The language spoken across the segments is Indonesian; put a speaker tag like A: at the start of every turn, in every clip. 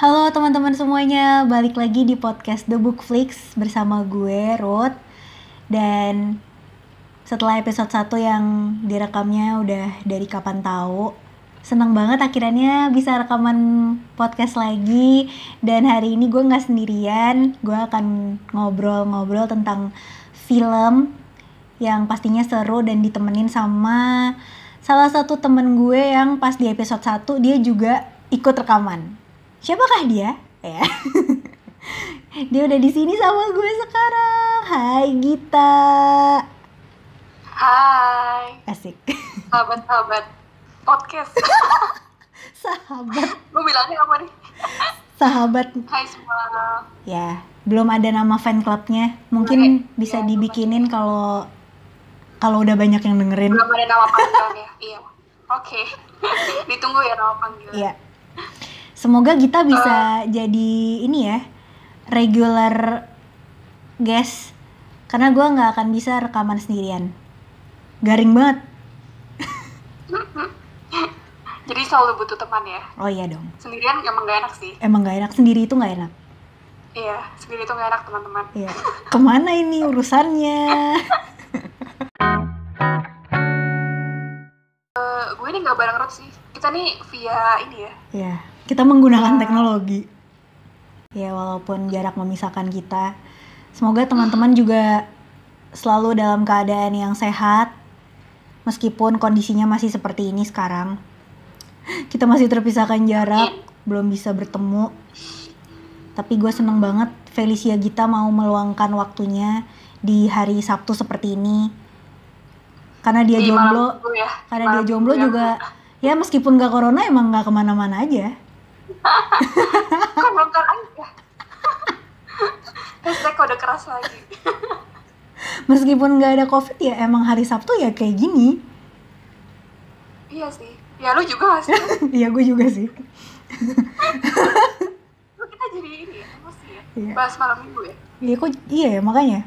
A: teman-teman semuanya, balik lagi di podcast The Book Flix bersama gue, Ruth. Dan setelah episode 1 yang direkamnya udah dari kapan tahu, senang banget akhirnya bisa rekaman podcast lagi. Dan hari ini gue nggak sendirian, gue akan ngobrol-ngobrol tentang film yang pastinya seru dan ditemenin sama salah satu temen gue yang pas di episode 1 dia juga ikut rekaman siapakah dia? Ya. dia udah di sini sama gue sekarang. Hai Gita.
B: Hai,
A: Asik.
B: sahabat-sahabat podcast.
A: sahabat,
B: Lu bilangnya apa nih?
A: sahabat.
B: Hai semua.
A: Ya, belum ada nama fan clubnya. Mungkin bisa
B: Ya,
A: dibikinin kalau kalau udah banyak yang dengerin.
B: Belum ada nama panggilan ya? Iya. Oke. Ditunggu ya nama panggilan.
A: Iya. Semoga Gita bisa jadi ini ya regular guest karena gue nggak akan bisa rekaman sendirian. Garing banget.
B: Jadi selalu butuh teman ya.
A: Oh iya dong.
B: Sendirian emang gak enak sih.
A: Emang nggak enak sendiri itu nggak enak.
B: Iya, sendiri tuh gak enak teman-teman.
A: Ya, kemana ini urusannya?
B: Eh, gue ini gak bareng Ruth sih. Kita nih via ini ya.
A: ya, kita menggunakan teknologi. Ya, walaupun jarak memisahkan kita, semoga teman-teman juga selalu dalam keadaan yang sehat, meskipun kondisinya masih seperti ini sekarang. Kita masih terpisahkan jarak, belum bisa bertemu. Tapi gue seneng banget Felicia Gita mau meluangkan waktunya di hari Sabtu seperti ini. Karena dia
B: Di malam
A: jomblo,
B: minggu ya.
A: karena
B: Malam
A: dia jomblo
B: minggu yang-
A: juga ya meskipun nggak corona emang nggak kemana-mana aja
B: Kan bongkar aja. Hashtag kode keras lagi.
A: meskipun nggak ada covid ya emang hari sabtu ya kayak gini
B: Iya sih. Ya lu juga gak sih?
A: ya gue juga sih
B: Lu kita jadi ini ya, emosi ya.
A: Iya.
B: Bahas malam minggu ya.
A: ya kok iya ya makanya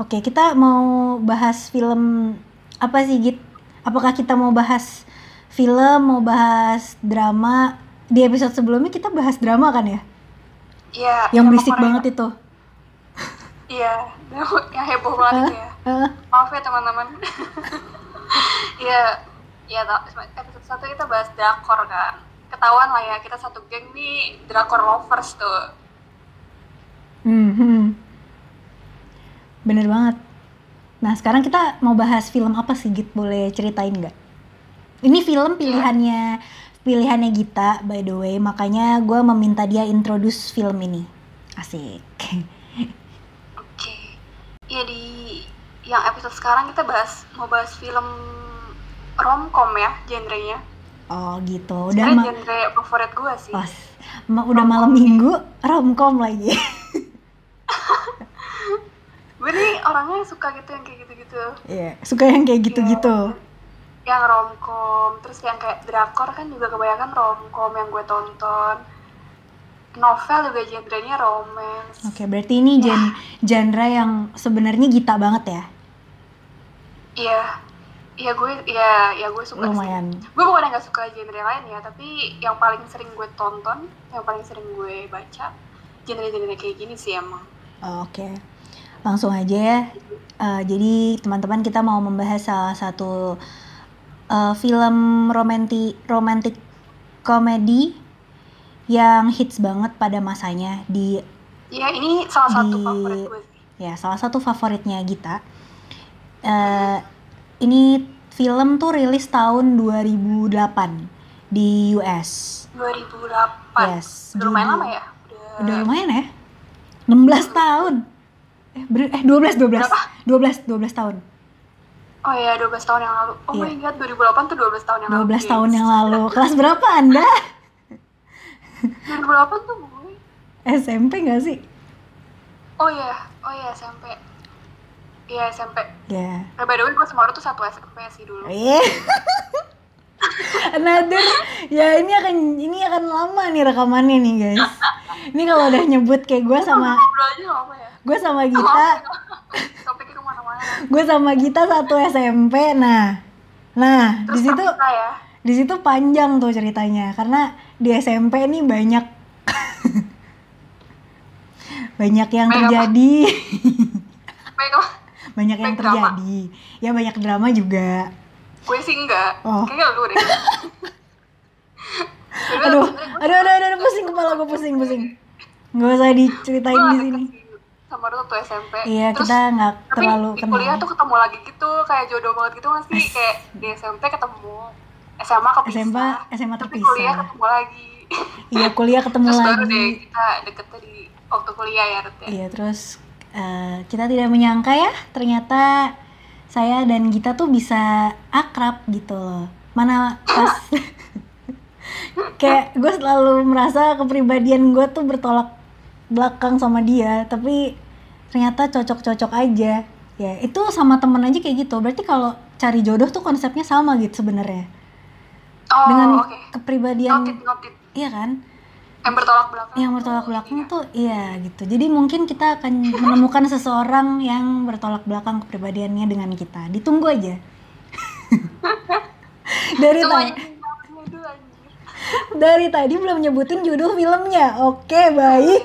A: oke kita mau bahas film apa sih git apakah kita mau bahas film mau bahas drama di episode sebelumnya kita bahas drama kan ya
B: Iya.
A: yang
B: drama
A: berisik
B: Korea.
A: banget ya? itu
B: Iya, drama yang heboh banget itu ya.
A: Eh,
B: Maaf ya teman-teman. Iya, iya tau, episode satu kita bahas drakor kan. Ketahuan lah ya kita satu geng nih drakor lovers tuh.
A: hmm, hmm. bener banget nah sekarang kita mau bahas film apa sih git boleh ceritain nggak ini film pilihannya pilihannya Gita by the way makanya gue meminta dia introduce film ini asik
B: Oke. Iya di yang episode sekarang kita bahas mau bahas film romcom ya genrenya.
A: Oh gitu, udah
B: Ini
A: ma-
B: genre favorit gue sih.
A: Os, ma- udah malam minggu romcom lagi.
B: Gue nih orangnya suka gitu yang kayak gitu-gitu.
A: Iya, suka yang kayak gitu-gitu.
B: yang romcom terus yang kayak drakor kan juga kebanyakan romcom yang gue tonton novel juga genrenya romance
A: Oke, berarti ini gen- genre yang sebenarnya Gita banget ya.
B: iya iya gue iya ya gue suka sih
A: Lumayan.
B: gue bukan yang gak suka genre lain ya tapi yang paling sering gue tonton yang paling sering gue baca genre-genre kayak gini sih emang
A: Oh, Oke. Langsung aja ya. Eh, jadi teman-teman kita mau membahas salah satu eh, film romanti romantic komedi yang hits banget pada masanya di
B: ya ini salah satu
A: Di-
B: favorit gue sih
A: ya salah satu favoritnya Gita. Eh, ini film tuh rilis tahun 2008 di US.
B: 2008
A: Yes.
B: udah
A: judul-
B: lumayan lama ya udah,
A: Udah lumayan ya. 16 tahun. Eh, ber- eh 12 12.
B: Berapa?
A: 12 12 tahun.
B: oh ya 12 tahun yang lalu oh my god 2008 tuh 12 tahun yang lalu
A: 12 Iya. tahun
B: guys.
A: yang lalu. Kelas berapa Anda?
B: 2008 tuh gue
A: SMP nggak sih?
B: Oh iya, oh iya SMP. Iya SMP.
A: Ya.
B: Eh, by the way, gue sama lu tuh satu SMP sih dulu.
A: Eh. Another ya ini akan ini akan lama nih rekamannya nih guys. Ini kalau udah nyebut kayak gue sama
B: Ngobrol aja nggak apa ya?
A: gue sama Gita,
B: Topiknya kemana-mana.
A: gue sama Gita satu SMP. Nah, nah di
B: Terus
A: situ
B: terpisah ya.
A: di situ panjang tuh ceritanya karena di SMP nih banyak banyak yang
B: Baik apa?
A: terjadi
B: Baik, oh,
A: banyak yang
B: Baik drama.
A: terjadi ya banyak drama juga
B: gue sih enggak.
A: Oh.
B: Kayaknya lu deh. Jadi,
A: aduh
B: sebenernya gue-
A: aduh aduh aduh, aduh, pusing kepala gue pusing pusing nggak usah
B: gue
A: diceritain di
B: nggak
A: sini
B: deket sih sama lu tuh SMP.
A: iya
B: Terus,
A: kita nggak
B: tapi
A: terlalu
B: di
A: kenal
B: kuliah tuh ketemu lagi gitu, kayak jodoh banget gitu nggak sih? Kayak di SMP ketemu, SMA kepisah.
A: SMA SMA
B: tapi
A: terpisah
B: kuliah ketemu lagi.
A: iya kuliah ketemu
B: Terus baru
A: lagi
B: deh kita deketnya di waktu kuliah ya, Ruth ya.
A: iya terus eh, kita tidak menyangka ya ternyata saya dan Gita tuh bisa akrab gitu loh mana pas kayak gue selalu merasa kepribadian gue tuh bertolak belakang sama dia tapi ternyata cocok-cocok aja ya itu sama temen aja kayak gitu berarti kalau cari jodoh tuh konsepnya sama gitu sebenarnya
B: Oh,
A: dengan
B: oke. Notit,
A: kepribadian
B: notit.
A: iya kan
B: Yang bertolak belakang.
A: yang bertolak belakang
B: Iya.
A: tuh iya gitu jadi mungkin kita akan menemukan seseorang yang bertolak belakang kepribadiannya dengan kita ditunggu aja dari
B: Cuma
A: tadi
B: yang namanya dulu, anjir.
A: dari tadi belum nyebutin judul filmnya oke baik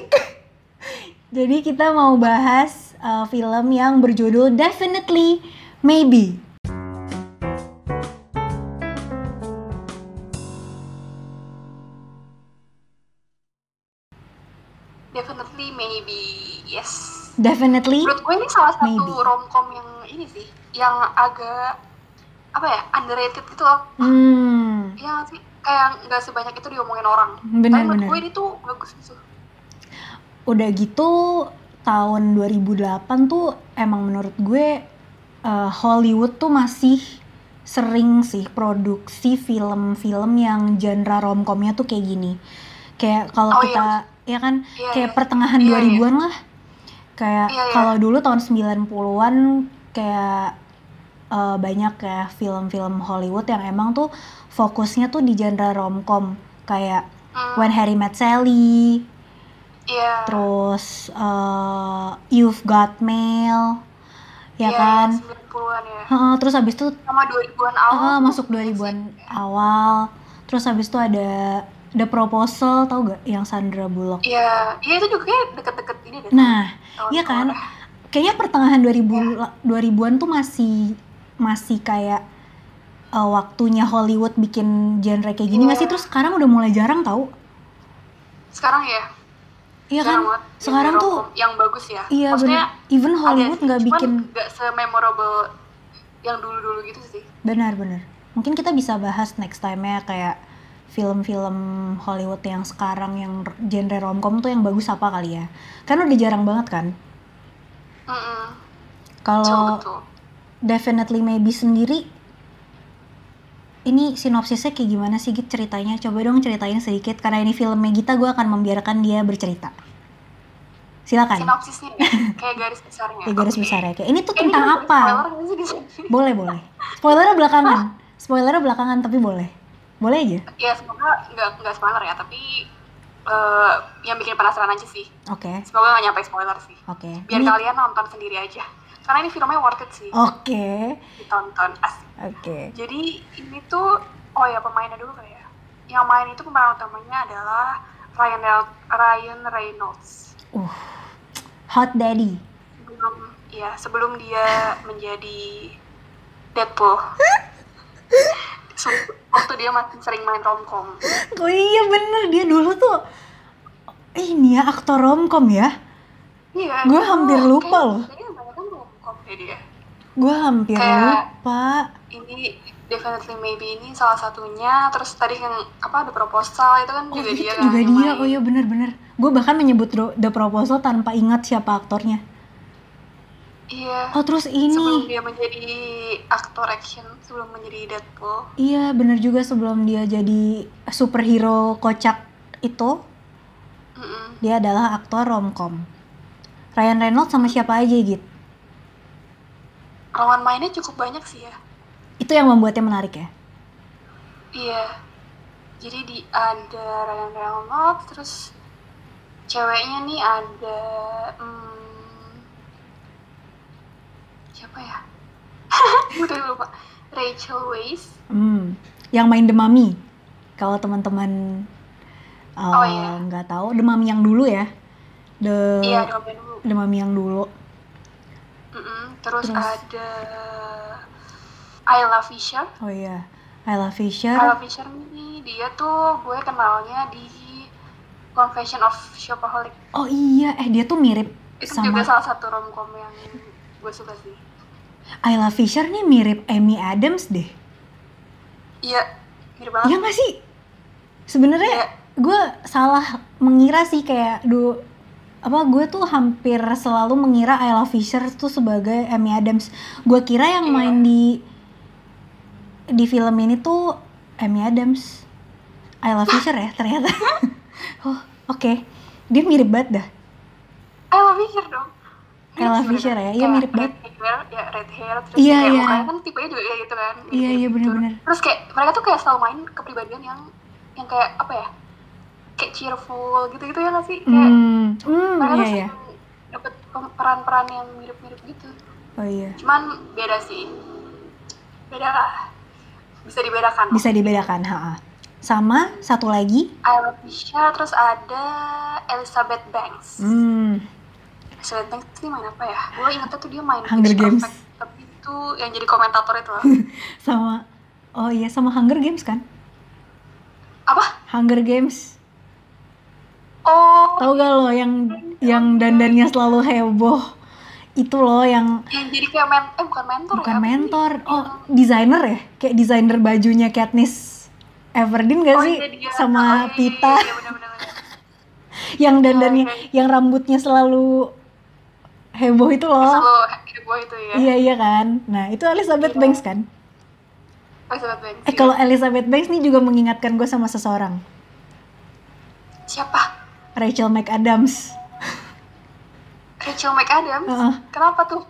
A: jadi kita mau bahas uh, film yang berjudul Definitely Maybe
B: Definitely maybe yes.
A: Definitely
B: Menurut gue ini salah satu
A: Maybe.
B: romcom yang ini sih, yang agak apa ya underrated gitu loh.
A: hmm
B: Ya sih kayak nggak sebanyak itu diomongin orang. Tapi
A: benar
B: menurut
A: benar
B: gue ini tuh bagus gitu.
A: udah gitu tahun 2008 tuh emang menurut gue eh, Hollywood tuh masih sering sih produksi film-film yang genre romcomnya tuh kayak gini kayak kalau
B: Oh,
A: kita ya kan
B: Iya,
A: kayak
B: iya.
A: pertengahan
B: Iya,
A: 2000-an lah kayak
B: Iya, iya.
A: kalau dulu tahun 90-an kayak eh, banyak ya film-film Hollywood yang emang tuh fokusnya tuh di genre romcom kayak
B: Hmm,
A: When Harry Met Sally
B: iya.
A: terus eh, You've Got Mail ya
B: Iya,
A: kan
B: iya, 90-an ya.
A: Heeh, terus abis itu
B: Sama 2000-an awal.
A: eh,
B: tuh
A: masuk
B: masih- ya.
A: 2000-an awal terus abis itu ada The Proposal tau gak yang Sandra Bullock
B: Iya, iya itu juga kayak deket-deket ini deh.
A: nah
B: tahun
A: iya kan?
B: kemarin.
A: kayaknya pertengahan 2000
B: Ya.
A: 2000-an tuh masih masih kayak eh, waktunya Hollywood bikin genre kayak gini nggak sih
B: Iya.
A: terus sekarang udah mulai jarang tau
B: Sekarang ya.
A: iya kan
B: jarang banget yang
A: sekarang tuh
B: romcom yang bagus ya.
A: iya
B: Maksudnya
A: bener even Hollywood nggak bikin
B: nggak sememorable yang dulu-dulu gitu sih
A: Benar-benar. Mungkin kita bisa bahas next time-nya kayak film-film Hollywood yang sekarang yang r- genre romcom tuh yang bagus apa kali ya? Karena udah jarang banget kan.
B: Mm-mm. Betul,
A: Kalau
B: betul.
A: Definitely Maybe sendiri ini sinopsisnya kayak gimana sih Git ceritanya? Coba dong ceritain sedikit karena ini filmnya Gita gue akan membiarkan dia bercerita. Silakan.
B: sinopsisnya ya, kayak garis besarnya
A: Ya, garis
B: Oke.
A: besar ya. Kayak ini tuh
B: Eh, ini
A: tentang
B: kan
A: apa?
B: spoiler nggak sih di sini?
A: Boleh, boleh. Spoilernya belakangan. Spoilernya belakangan tapi boleh. Boleh aja.
B: ya semoga nggak nggak spoiler ya tapi eh, yang bikin penasaran aja sih
A: Oke.
B: semoga nggak nyampe spoiler sih
A: Oke.
B: biar
A: Ini- Oh.
B: kalian nonton sendiri aja karena ini filmnya worth it sih
A: Oke.
B: ditonton asik
A: Oke.
B: jadi ini tuh oh ya pemainnya dulu kali ya yang main itu pemeran utamanya adalah Ryan Rel- Ryan Reynolds
A: Uh. Hot Daddy.
B: sebelum ya sebelum dia menjadi Deadpool Se- waktu dia masih sering main romcom
A: Oh iya bener dia dulu tuh ini ya aktor romcom ya.
B: iya
A: Gua
B: itu
A: hampir lupa
B: kayaknya-
A: loh.
B: kayaknya kebanyakan romcom deh dia
A: Gue hampir
B: Kayak-
A: lupa.
B: ini definitely maybe ini salah satunya terus tadi yang apa ada proposal itu kan
A: Oh
B: juga
A: itu
B: dia kan
A: juga
B: yang
A: dia.
B: main.
A: Oh iya bener-bener. Gue bahkan menyebut Ro- The Proposal tanpa ingat siapa aktornya.
B: Iya,
A: Oh terus
B: sebelum
A: ini.
B: dia menjadi aktor action sebelum menjadi Deadpool
A: Iya bener juga sebelum dia jadi superhero kocak itu
B: Mm-mm.
A: dia adalah aktor romcom. Ryan Reynolds sama siapa aja gitu.
B: lawan mainnya cukup banyak sih ya
A: Itu yang membuatnya menarik ya.
B: Iya. Jadi di ada Ryan Reynolds, terus ceweknya nih ada hmm, siapa ya? Gue tadi lupa. Rachel Weisz.
A: Hmm, yang main The Mummy. Kalau teman-teman eh,
B: Oh, iya.
A: nggak tahu The Mummy yang dulu ya. The
B: Iya, nyobain dulu.
A: Demam yang dulu.
B: Mm-mm. Terus,
A: Terus.
B: ada I Love Fisher.
A: Oh iya, I Love Fisher.
B: Kyle Fisher nih, dia tuh gue kenalnya di Confession of Shopaholic.
A: Oh iya, eh dia tuh mirip
B: Itu
A: sama
B: juga salah satu romcom yang gue suka sih.
A: I Love Fisher nih mirip Amy Adams deh.
B: Iya, mirip
A: Ya
B: banget.
A: nggak sih? Sebenarnya
B: Iya.
A: gue salah mengira sih kayak du apa gue tuh hampir selalu mengira Ayla Fisher tuh sebagai Amy Adams. Gue kira yang
B: Iya.
A: main di di film ini tuh Amy Adams. Ayla Fisher ya ternyata. oh, oke. Dia mirip banget dah.
B: I Love Fisher dong.
A: I Love Fisher ya, iya, mirip banget.
B: Red hair, ya red hair, terus
A: Iya,
B: kayak
A: iya.
B: mukanya kan tipenya juga kayak gitu kan.
A: Iya, iya, bener-bener.
B: Terus kayak mereka tuh kayak selalu main kepribadian yang yang kayak apa ya? Kayak cheerful gitu-gitu ya nggak sih? Kayak
A: Hmm. Hmm,
B: mereka
A: iya
B: tuh
A: ya.
B: sering dapet peran-peran yang mirip-mirip gitu.
A: Oh iya.
B: cuman beda sih beda lah bisa dibedakan
A: Bisa dibedakan, ha. Sama satu lagi.
B: Ayla Fisher terus ada Elizabeth Banks
A: Hmm.
B: Elizabeth Banks ini main apa ya gue ingetnya tuh dia main
A: Hunger
B: Pitch
A: Games.
B: Perfect, tapi itu yang jadi komentator itu loh
A: Sama Oh iya, sama Hunger Games kan?
B: apa
A: Hunger Games.
B: oh
A: Tahu gak lo yang yang dandannya selalu heboh itu lo yang
B: yang jadi kayak men eh bukan mentor ya
A: bukan
B: apa sih?
A: mentor oh desainer ya kayak desainer bajunya Katniss Everdeen gak
B: Oh,
A: sih
B: iya, dia. Oh,
A: sama
B: iya, iya,
A: Pita
B: iya, bener-bener.
A: yang dandannya
B: Oh, iya.
A: yang rambutnya selalu heboh itu lo
B: Selalu heboh itu ya
A: Oh. iya iya kan nah itu Elizabeth
B: Iya.
A: Banks kan
B: Elizabeth Banks
A: eh
B: iya.
A: kalau Elizabeth Banks nih juga mengingatkan gue sama seseorang
B: siapa
A: Rachel McAdams
B: Rachel McAdams
A: Heeh.
B: kenapa tuh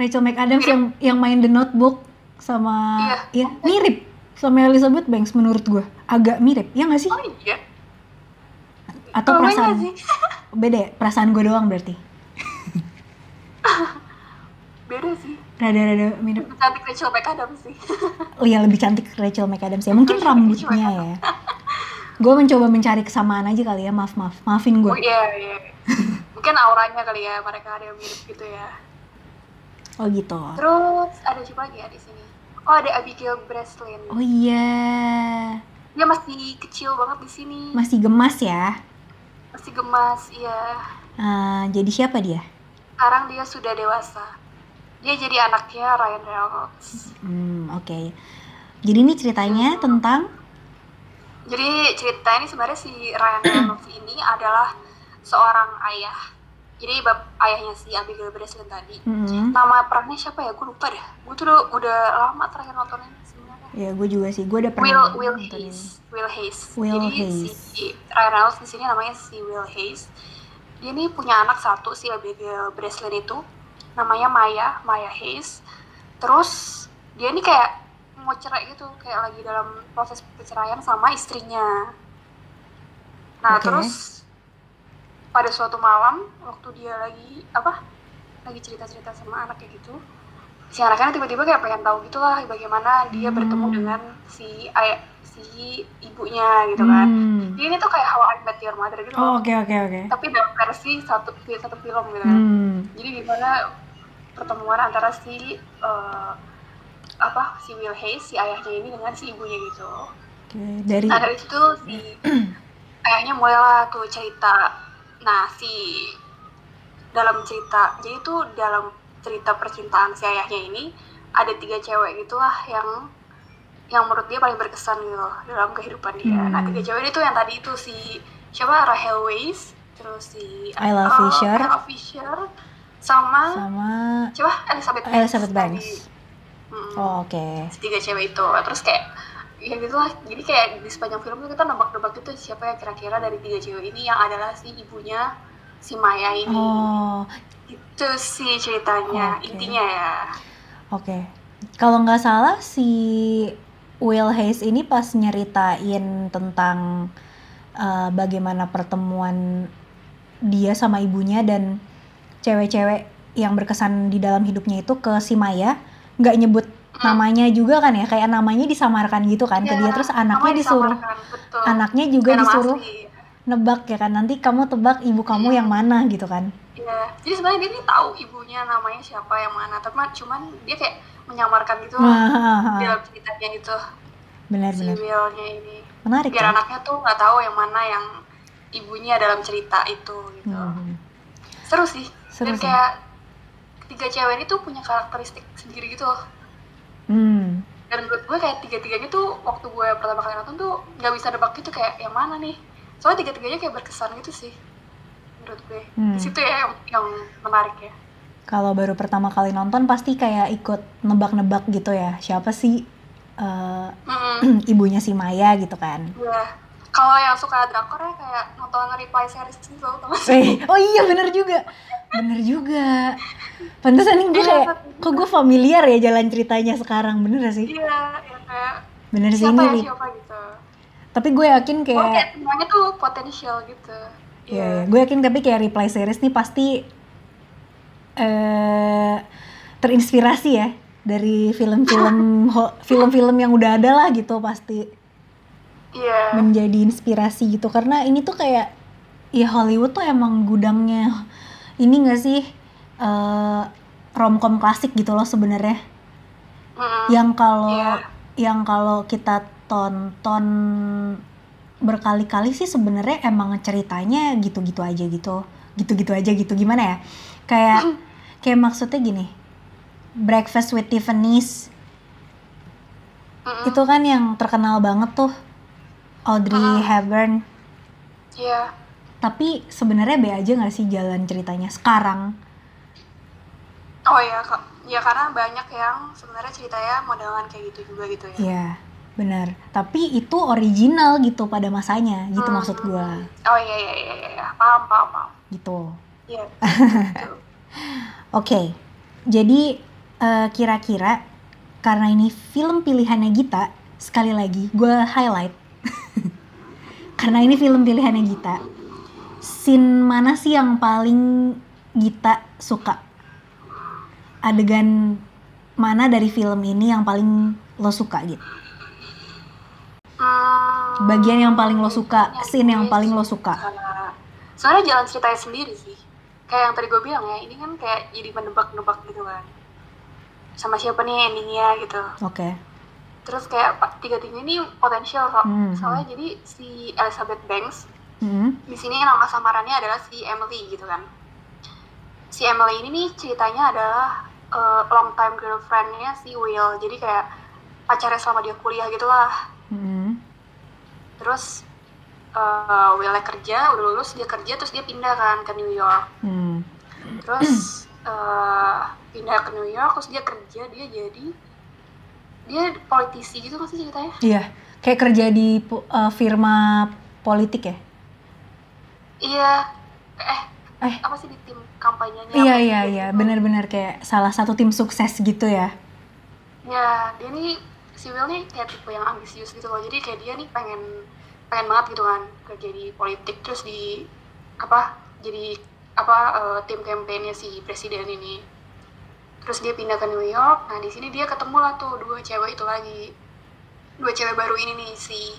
A: Rachel McAdams yang yang main The Notebook sama
B: Iya.
A: ya mirip sama Elizabeth Banks menurut gue agak mirip ya nggak sih
B: oh iya
A: atau
B: Kalau gue
A: perasaan
B: nggak sih?
A: beda ya? perasaan gue doang berarti
B: beda sih
A: rada-rada mirip
B: Lebih cantik Rachel McAdams sih
A: oh ya lebih cantik Rachel McAdams ya mungkin rambutnya ya gue mencoba mencari kesamaan aja kali ya maaf maaf maafin
B: Oh
A: gue
B: iya, iya. Mungkin auranya kali ya, mereka ada yang mirip gitu ya.
A: oh gitu
B: Terus ada siapa lagi ya di sini? Oh ada Abigail Breslin.
A: oh iya
B: Dia masih kecil banget di sini,
A: masih gemas ya
B: masih gemas, iya.
A: Ah, jadi siapa dia
B: Sekarang dia sudah dewasa. Dia jadi anaknya Ryan Reynolds.
A: hmm oke jadi ini ceritanya tentang
B: Jadi cerita ini sebenarnya si Ryan Reynolds ini adalah seorang ayah. Jadi bab ayahnya si Abigail Breslin tadi.
A: Mm-mm.
B: Nama perannya siapa ya? Gue lupa deh. Gue tuh udah, udah lama terakhir nonton ini sebenarnya.
A: ya gue juga sih gue udah
B: Will
A: pernah
B: Will
A: nonton ini.
B: Hayes. Will Hayes.
A: Will
B: Jadi
A: Hayes.
B: si Ryan Reynolds di sini namanya si Will Hayes. Dia ini punya anak satu si Abigail Breslin itu namanya Maya Maya Hayes. Terus dia ini kayak mau cerai gitu kayak lagi dalam proses perceraian sama istrinya. Nah
A: Oke.
B: terus pada suatu malam waktu dia lagi apa lagi cerita-cerita sama anaknya gitu si anaknya tiba-tiba kayak pengen tahu gitulah bagaimana dia
A: Hmm.
B: bertemu dengan si ay- si ibunya gitu kan
A: Hmm.
B: jadi ini tuh kayak How I Met Your Mother gitu
A: Oh,
B: loh.
A: oke oke oke.
B: tapi dalam versi satu satu film gitu kan
A: Hmm.
B: jadi gimana pertemuan antara si eh, apa si Will Hayes si ayahnya ini dengan si ibunya gitu
A: Oke, dari
B: Nah dari situ si ayahnya mulailah tuh cerita. Nah si dalam cerita, jadi tuh dalam cerita percintaan si ayahnya ini ada tiga cewek gitulah yang yang menurut dia paling berkesan gitu dalam kehidupan dia.
A: Hmm.
B: Nah tiga cewek itu yang tadi itu si siapa Rahel Weisz, terus si
A: Ayla
B: eh,
A: Fisher.
B: Ayla Fisher, sama
A: sama
B: siapa Elizabeth Banks.
A: Elizabeth
B: tadi. Hmm.
A: Banks.
B: Mm-mm
A: Oh, oke.
B: tiga cewek itu Nah, terus kayak ya gitu lah jadi kayak di sepanjang film tuh kita nebak-nebak gitu siapa ya kira-kira dari tiga cewek ini yang adalah si ibunya si Maya ini
A: Oh,
B: itu sih ceritanya
A: Oke.
B: intinya ya
A: oke. Kalau nggak salah si Will Hayes ini pas nyeritain tentang eh, bagaimana pertemuan dia sama ibunya dan cewek-cewek yang berkesan di dalam hidupnya itu ke si Maya nggak nyebut
B: Hmm.
A: namanya juga kan ya kayak namanya disamarkan gitu kan ke
B: Ya,
A: dia terus
B: namanya
A: anaknya disuruh
B: disamarkan, betul.
A: anaknya juga
B: Kayak nama
A: disuruh
B: asli.
A: nebak ya kan nanti kamu tebak ibu
B: Hmm.
A: kamu yang mana gitu kan
B: Iya. Jadi sebenarnya dia nih tahu ibunya namanya siapa yang mana, tapi mah- cuman dia kayak menyamarkan gitu lah di
A: benar
B: dalam ceritanya gitu si
A: benar
B: Willnya ini.
A: menarik
B: Iya. Biar
A: kan
B: anaknya tuh nggak tahu yang mana yang ibunya dalam cerita itu gitu.
A: Hmm.
B: Seru sih.
A: Seru
B: Dan
A: sih.
B: kayak ketiga cewek ini tuh punya karakteristik sendiri gitu loh.
A: Hmm.
B: Dan menurut gue kayak tiga-tiganya tuh waktu gue pertama kali nonton tuh nggak bisa nebak gitu kayak yang mana nih. Soalnya tiga-tiganya kayak berkesan gitu sih menurut gue.
A: Hmm.
B: Di situ ya yang, yang menarik ya.
A: kalau baru pertama kali nonton pasti kayak ikut nebak-nebak gitu ya siapa sih eh,
B: Mm-mm.
A: ibunya si Maya gitu kan
B: Iya. Kalau yang suka drakor ya kayak nonton reply series gitu tau gak sih?
A: Eh, oh iya bener juga bener juga pantesan gue
B: Iya.
A: kayak kok gue familiar ya jalan ceritanya sekarang bener gak sih
B: Iya, yang kayak
A: bener sih
B: siapa
A: ini
B: ya
A: nih
B: siapa gitu.
A: tapi gue yakin
B: Oh, kayak
A: kayak
B: semuanya tuh potensial gitu.
A: ya ya, gue yakin tapi kayak reply series nih pasti eh terinspirasi ya dari film-film ho- film-film yang udah ada lah gitu pasti
B: Iya.
A: menjadi inspirasi gitu karena ini tuh kayak ya Hollywood tuh emang gudangnya ini gak sih eh romcom klasik gitu loh sebenarnya
B: Mm-mm.
A: yang kalau
B: Iya.
A: yang kalau kita tonton berkali-kali sih sebenarnya emang ceritanya gitu-gitu aja gitu gitu-gitu aja gitu gimana ya kayak kayak maksudnya gini Breakfast with Tiffany's
B: Mm-mm.
A: itu kan yang terkenal banget tuh Audrey
B: Mm.
A: Hepburn
B: Iya.
A: tapi sebenarnya be aja nggak sih jalan ceritanya sekarang
B: Oh iya, Kak. Ya karena banyak yang sebenarnya ceritanya modelan kayak gitu juga gitu ya.
A: ya benar tapi itu original gitu pada masanya gitu
B: Hmm.
A: maksud gua
B: Oh iya iya iya iya, iya. Paham, paham, paham.
A: gitu
B: Iya. Gitu.
A: oke jadi eh, kira-kira karena ini film pilihannya Gita sekali lagi gua highlight karena ini film pilihannya Gita scene mana sih yang paling Gita suka adegan mana dari film ini yang paling lo suka gitu
B: Hmm, iya,
A: bagian yang paling lo suka, scene yang
B: gue
A: paling lo suka.
B: suka. Soalnya jalan ceritanya sendiri sih. Kayak yang tadi gue bilang ya, ini kan kayak jadi menebak-nebak gitu kan. Sama siapa nih endingnya gitu.
A: Oke.
B: Terus kayak pa- tiga-tiganya ini potensial kok.
A: Mhm.
B: Soalnya jadi si Elizabeth Banks,
A: Mm-mm.
B: di sini nama samarannya adalah si Emily gitu kan. Si Emily ini nih ceritanya adalah eh, long time girlfriend-nya si Will. Jadi kayak pacarnya selama dia kuliah gitu lah.
A: Mm-mm.
B: terus eh Willnya kerja udah lulus dia kerja terus dia pindah kan ke New York
A: Mm.
B: terus eh pindah ke New York terus dia kerja dia jadi dia politisi gitu masih ceritanya
A: Iya. Kayak kerja di pu- eh, firma politik ya?
B: iya eh,
A: Eh.
B: apa sih di tim kampanyenya
A: Iya
B: apa
A: iya
B: gitu.
A: iya. Benar-benar kayak salah satu tim sukses gitu ya.
B: ya dia nih si Will nih kayak tipe yang ambisius gitu loh jadi kayak dia nih pengen pengen banget gitu kan kerja di politik terus di apa jadi apa eh, tim kampanye si presiden ini terus dia pindah ke New York nah di sini dia ketemu lah tuh dua cewek itu lagi dua cewek baru ini nih si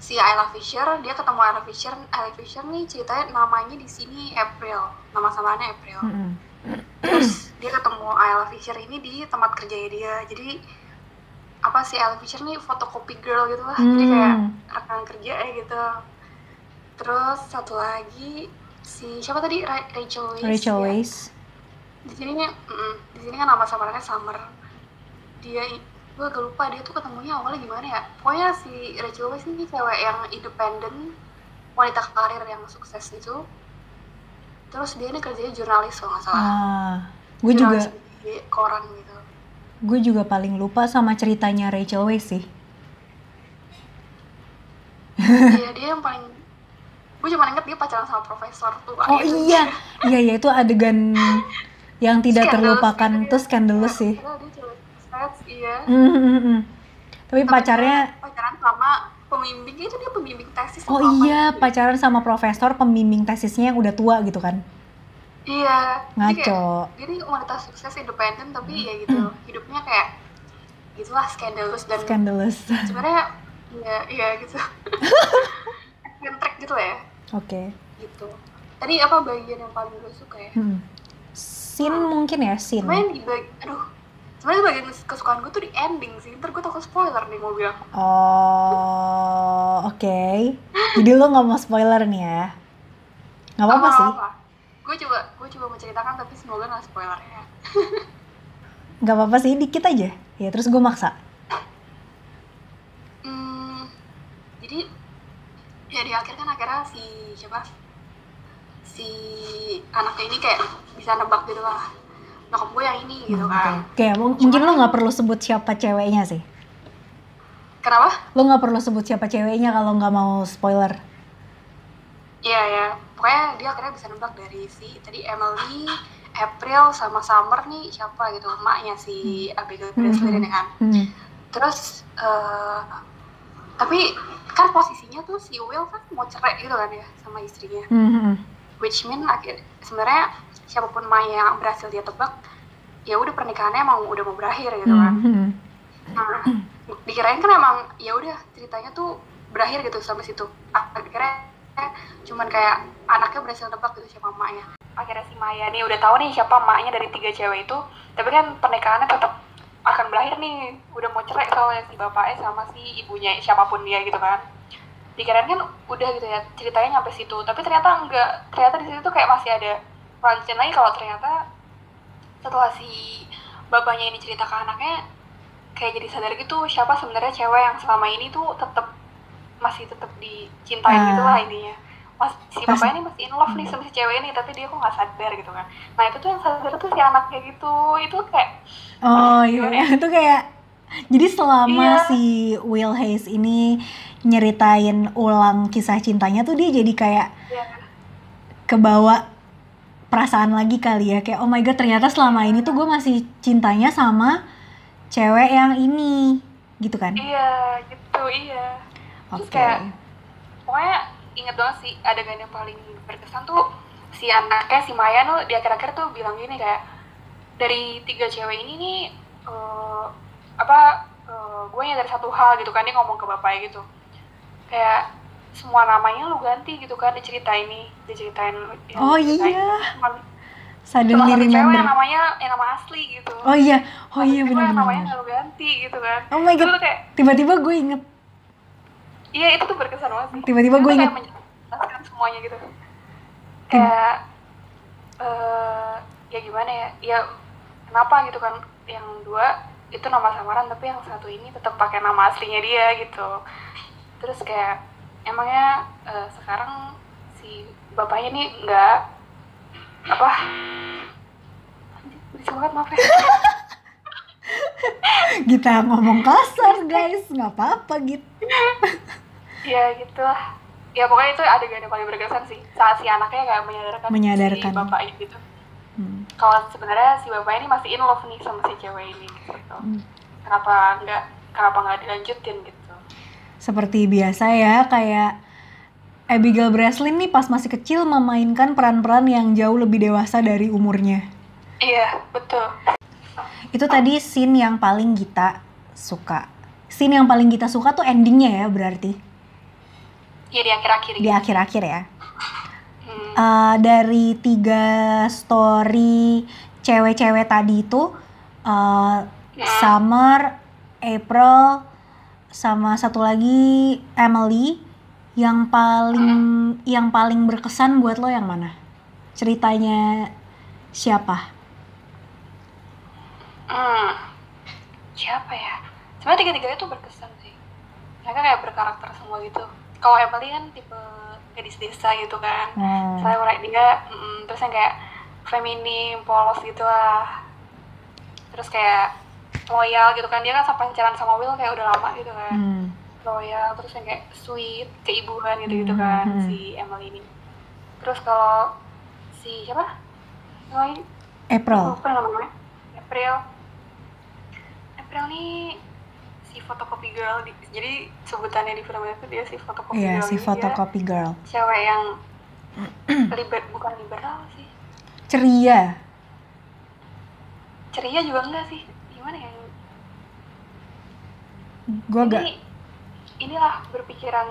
B: si Ayla Fisher dia ketemu Ayla Fisher Ayla Fisher nih ceritanya namanya di sini April nama samarannya April
A: Mm-mm.
B: terus dia ketemu Ayla Fisher ini di tempat kerjanya dia jadi apa sih Ayla Fisher nih fotokopi girl gitu lah jadi kayak
A: Hmm.
B: rekan kerja ya gitu terus satu lagi si siapa tadi Ra- Rachel Weisz
A: Rachel
B: ya.
A: Weisz.
B: di sini nih mm, di sini kan nama samarannya Summer dia gue agak lupa dia tuh ketemunya awalnya gimana ya pokoknya si Rachel Weisz ini cewek yang independen wanita karir yang sukses gitu terus dia ini kerjanya jurnalis kalau nggak salah
A: Ah, gue juga
B: Jurnalis Iya, di koran gitu
A: gue juga paling lupa sama ceritanya Rachel Weisz sih.
B: Iya dia yang paling gue cuma inget dia pacaran sama profesor tuh
A: Oh iya. Iya iya itu adegan yang tidak
B: Scandalous
A: terlupakan
B: gitu ya.
A: itu scandalous sih.
B: Padahal dia cewek sukses, iya
A: Mm, mm, mm. Tapi
B: Tapi kan
A: pacarnya
B: dia pacaran sama pembimbing itu dia pembimbing tesis
A: Oh
B: atau apa
A: iya,
B: gitu.
A: pacaran sama profesor pembimbing tesisnya yang udah tua gitu kan.
B: iya Jadi kayak,
A: Ngaco. Hmm.
B: dia nih wanita sukses independen tapi ya gitu hidupnya kayak gitulah scandalous dan
A: Scandalous.
B: sebenarnya ya iya gitu eccentric gitu ya
A: Oke.
B: gitu tadi apa bagian yang paling gue suka ya
A: Hmm. Scene mungkin ya, scene.
B: sebenarnya di bag aduh sebenarnya bagian kesukaan gue tuh di ending sih ntar gue takut spoiler nih mau bilang
A: Oh, oke. Jadi lu nggak mau spoiler nih ya? Nggak apa-apa sih.
B: gue coba gue coba menceritakan tapi semoga nggak spoiler ya
A: Nggak apa-apa sih, dikit aja. Ya terus gue maksa.
B: Hmm, jadi ya di akhir kan akhirnya si siapa si anaknya ini kayak bisa nebak gitu lah nyokap gue yang ini gitu kan
A: Hmm, Oke, mung- mungkin lu nggak perlu sebut siapa ceweknya sih.
B: kenapa
A: Lu nggak perlu sebut siapa ceweknya kalau nggak mau spoiler.
B: iya ya pokoknya dia akhirnya bisa nebak dari si tadi Emily April sama Summer nih siapa gitu emaknya si Abigail Breslin ini kan
A: Hmm.
B: terus eh, tapi kan posisinya tuh si Will kan mau cerai gitu kan ya sama istrinya
A: Hmm, hmm,
B: which mean akhir sebenarnya siapapun Maya yang berhasil dia tebak ya udah pernikahannya emang udah mau berakhir gitu
A: hmm,
B: kan
A: hmm.
B: nah, dikirain kan emang ya udah ceritanya tuh berakhir gitu sampai situ akhirnya cuman kayak anaknya berhasil tebak gitu siapa emaknya akhirnya si Maya nih udah tahu nih siapa emaknya dari tiga cewek itu tapi kan pernikahannya tetap akan berakhir nih udah mau cerai soalnya si bapaknya sama si ibunya siapapun dia gitu kan dikirain kan udah gitu ya ceritanya nyampe situ tapi ternyata enggak ternyata di situ tuh kayak masih ada rancen lagi kalau ternyata setelah si bapaknya ini cerita ke anaknya kayak jadi sadar gitu siapa sebenarnya cewek yang selama ini tuh tetap masih tetap dicintai
A: Ah.
B: gitu lah intinya Mas, si
A: Pas-
B: bapaknya ini masih in love nih sama si cewek ini tapi dia kok nggak sadar gitu kan nah itu tuh yang sadar tuh si anak kayak gitu itu kayak
A: Oh
B: Gimana
A: iya, itu kayak jadi selama
B: Iya.
A: si Will Hayes ini nyeritain ulang kisah cintanya tuh dia jadi kayak
B: ya,
A: kebawa perasaan lagi kali ya kayak oh my god ternyata selama ini tuh gue masih cintanya sama cewek yang ini gitu kan?
B: iya gitu iya
A: Oke.
B: Terus kayak, pokoknya inget banget sih adegan yang paling berkesan tuh si anaknya si Maya tuh di akhir-akhir tuh bilang gini kayak dari tiga cewek ini nih eh, apa eh, gue nyadar satu hal gitu kan dia ngomong ke bapaknya gitu kayak semua namanya lu ganti gitu kan diceritain nih diceritain ya,
A: Oh
B: diceritain.
A: iya,
B: Cuman- cuma
A: suddenly
B: satu cewek yang
A: remember.
B: namanya yang nama asli gitu
A: Oh iya, oh
B: Satu
A: iya
B: cewek yang namanya
A: benar-benar.
B: lu ganti gitu kan
A: Oh my
B: itu
A: god,
B: tuh kayak
A: tiba-tiba gue inget,
B: iya itu tuh berkesan banget sih
A: tiba-tiba gue
B: Itu
A: inget.
B: kayak menjelaskan semuanya gitu kayak eh ya gimana ya ya kenapa gitu kan yang dua itu nama samaran tapi yang satu ini tetap pakai nama aslinya dia gitu terus kayak emangnya eh, sekarang si bapaknya nih nggak apa bisa banget maaf ya
A: Kita ngomong kasar guys, nggak apa-apa gitu.
B: ya gitu lah ya pokoknya itu adegan yang paling berkesan sih saat si anaknya kayak menyadarkan,
A: Menyadarkan.
B: si bapaknya gitu
A: Hmm.
B: kalau sebenarnya si bapak ini masih in love nih sama si cewek ini gitu.
A: Hmm.
B: Kenapa nggak kenapa nggak dilanjutin gitu?
A: Seperti biasa ya, kayak Abigail Breslin nih pas masih kecil memainkan peran-peran yang jauh lebih dewasa dari umurnya.
B: Iya betul.
A: Itu tadi scene yang paling kita suka. Scene yang paling kita suka tuh endingnya ya berarti,
B: Iya di akhir-akhir
A: di
B: gitu.
A: akhir-akhir ya.
B: Hmm.
A: Eh, dari tiga story cewek-cewek tadi itu, eh,
B: Hmm.
A: Summer, April, sama satu lagi Emily, yang paling
B: Hmm.
A: yang paling berkesan buat lo yang mana? Ceritanya siapa?
B: Hmm. Siapa ya? Sebenarnya tiga-tiganya tuh berkesan sih. Mereka kayak berkarakter semua gitu. Kalau Emily kan tipe gadis desa gitu kan.
A: Hmm.
B: Saya orang dia, mm, terus yang kayak feminim, polos gitu lah. Terus kayak loyal gitu kan dia kan sampai pacaran sama Will kayak udah lama gitu kan.
A: Hmm.
B: loyal terus yang kayak sweet keibuan gitu gitu kan
A: Hmm.
B: si Emily ini terus kalau si siapa Yang lain
A: April.
B: lupa namanya April April nih si fotokopi girl di- jadi sebutannya di film itu dia si fotokopi
A: Iya,
B: girl
A: si
B: Jadi
A: fotokopi girl.
B: dia cewek yang liber bukan liberal sih
A: Ceria.
B: ceria juga enggak sih gimana ya
A: Gue agak
B: ini inilah berpikiran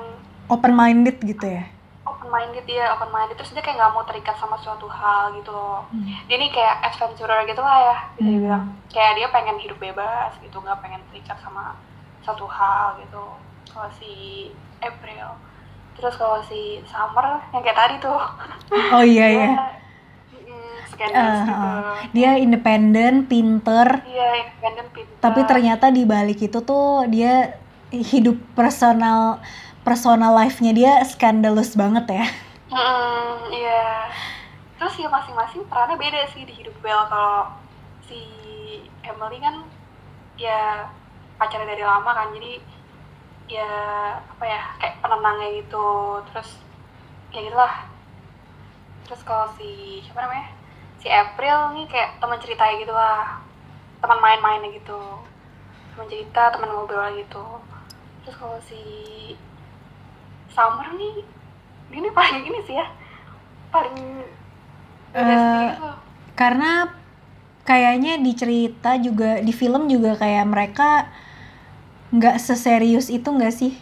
A: open minded gitu ya.
B: open open minded dia open minded terus dia kayak nggak mau terikat sama suatu hal gitu loh dia nih kayak adventurer gitu lah ya bisa
A: Hmm.
B: dibilang kayak dia pengen hidup bebas gitu nggak pengen terikat sama satu hal gitu kalau si April terus kalau si Summer yang kayak tadi tuh
A: Oh iya ya.
B: mm, scandalous
A: Eh,
B: gitu
A: Dia independen, pinter,
B: iya independen pintar
A: tapi ternyata di balik itu tuh dia hidup personal personal life-nya dia scandalous banget ya.
B: Mm, iya. Terus ya masing-masing perannya beda sih di hidup Bel. Kalau si Emily kan ya pacarnya dari lama kan, jadi ya apa ya kayak penenangnya gitu. Terus ya gitulah. Terus kalau si siapa namanya si April nih kayak teman ceritanya gitu lah, teman main-mainnya gitu, teman cerita, teman ngobrol gitu. Terus kalau si Summer nih dia nih paling ini sih ya paling gitu.
A: Eh, karena kayaknya di cerita juga di film juga kayak mereka nggak seserius itu nggak sih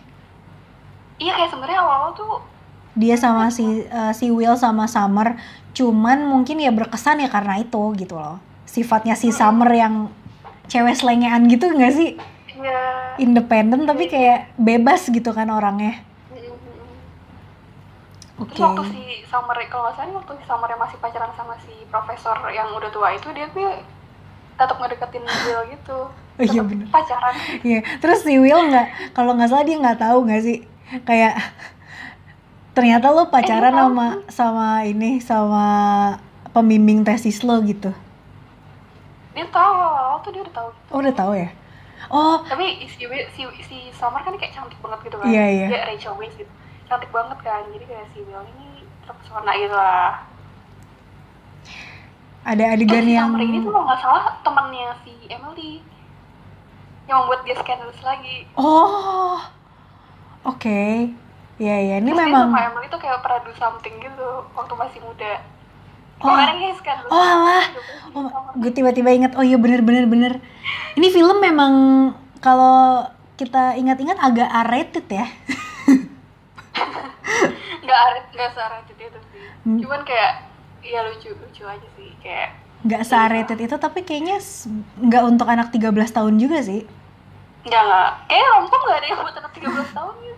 B: iya kayak sebenarnya awal-awal tuh
A: dia sama si eh, si Will sama Summer cuman mungkin ya berkesan ya karena itu gitu loh sifatnya si Summer yang cewek selengean gitu nggak sih
B: ya
A: independen tapi kayak bebas gitu kan orangnya oke
B: terus waktu si Summer kalau nggak salah ini waktu si Summer yang masih pacaran sama si profesor yang udah tua itu dia tuh tetap ngedeketin Will gitu
A: Oh iya
B: Tetep
A: bener.
B: pacaran
A: Iya, terus si Will nggak kalau nggak salah dia nggak tahu nggak sih kayak ternyata lo pacaran
B: Eh, dia tahu
A: sama sama ini sama pembimbing tesis lo gitu.
B: dia tahu awal-awal tuh dia udah tahu gitu.
A: Oh, udah tahu ya? Oh,
B: tapi si Will- si si Summer kan kayak cantik banget gitu kan
A: Iya, iya.
B: dia Rachel Weisz gitu cantik banget kan jadi kayak si Will ini terpesona gitu lah
A: ada
B: Terus
A: adegan
B: Oh, si
A: yang
B: Summer ini tuh kalau nggak salah temannya si Emily yang membuat dia scandalous lagi.
A: Oh. Oke. Iya, iya, ini
B: Terus dia
A: memang
B: sama Emily tuh kayak pernah do something gitu waktu masih muda.
A: Oh.
B: Oh, kadang kayak scandalous.
A: Oh, alah.
B: Gitu.
A: Oh, gue tiba-tiba ingat, oh iya bener bener bener. Ini film memang kalau kita ingat-ingat agak R-rated ya.
B: Nggak arit, nggak searah gitu itu sih.
A: Hmm.
B: Cuman kayak ya lucu lucu aja sih kayak
A: Nggak se-rated
B: Iya.
A: itu tapi kayaknya s- nggak untuk anak 13 tahun juga sih.
B: nggak nggak kayak rompong nggak ada yang buat anak 13 tahun ya.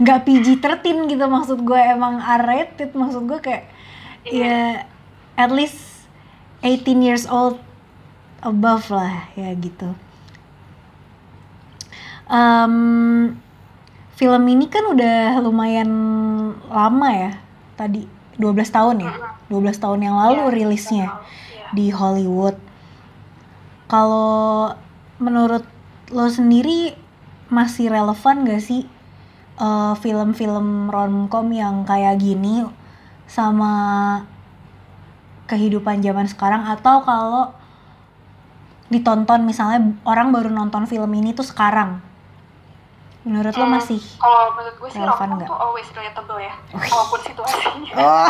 A: nggak PG-13 gitu maksud gue emang R-rated maksud gue kayak ya at least 18 years old above lah ya gitu Em, film ini kan udah lumayan lama ya tadi 12 tahun ya 12 tahun yang lalu
B: Iya,
A: rilisnya
B: Iya.
A: di Hollywood. Kalau menurut lo sendiri masih relevan gak sih eh, film-film romcom yang kayak gini sama kehidupan zaman sekarang atau kalau ditonton misalnya orang baru nonton film ini tuh sekarang menurut lo
B: Hmm,
A: masih
B: Kalau menurut gue sih
A: relevan
B: rompong
A: nggak?
B: tuh always relatable ya, walaupun situasinya.
A: oh.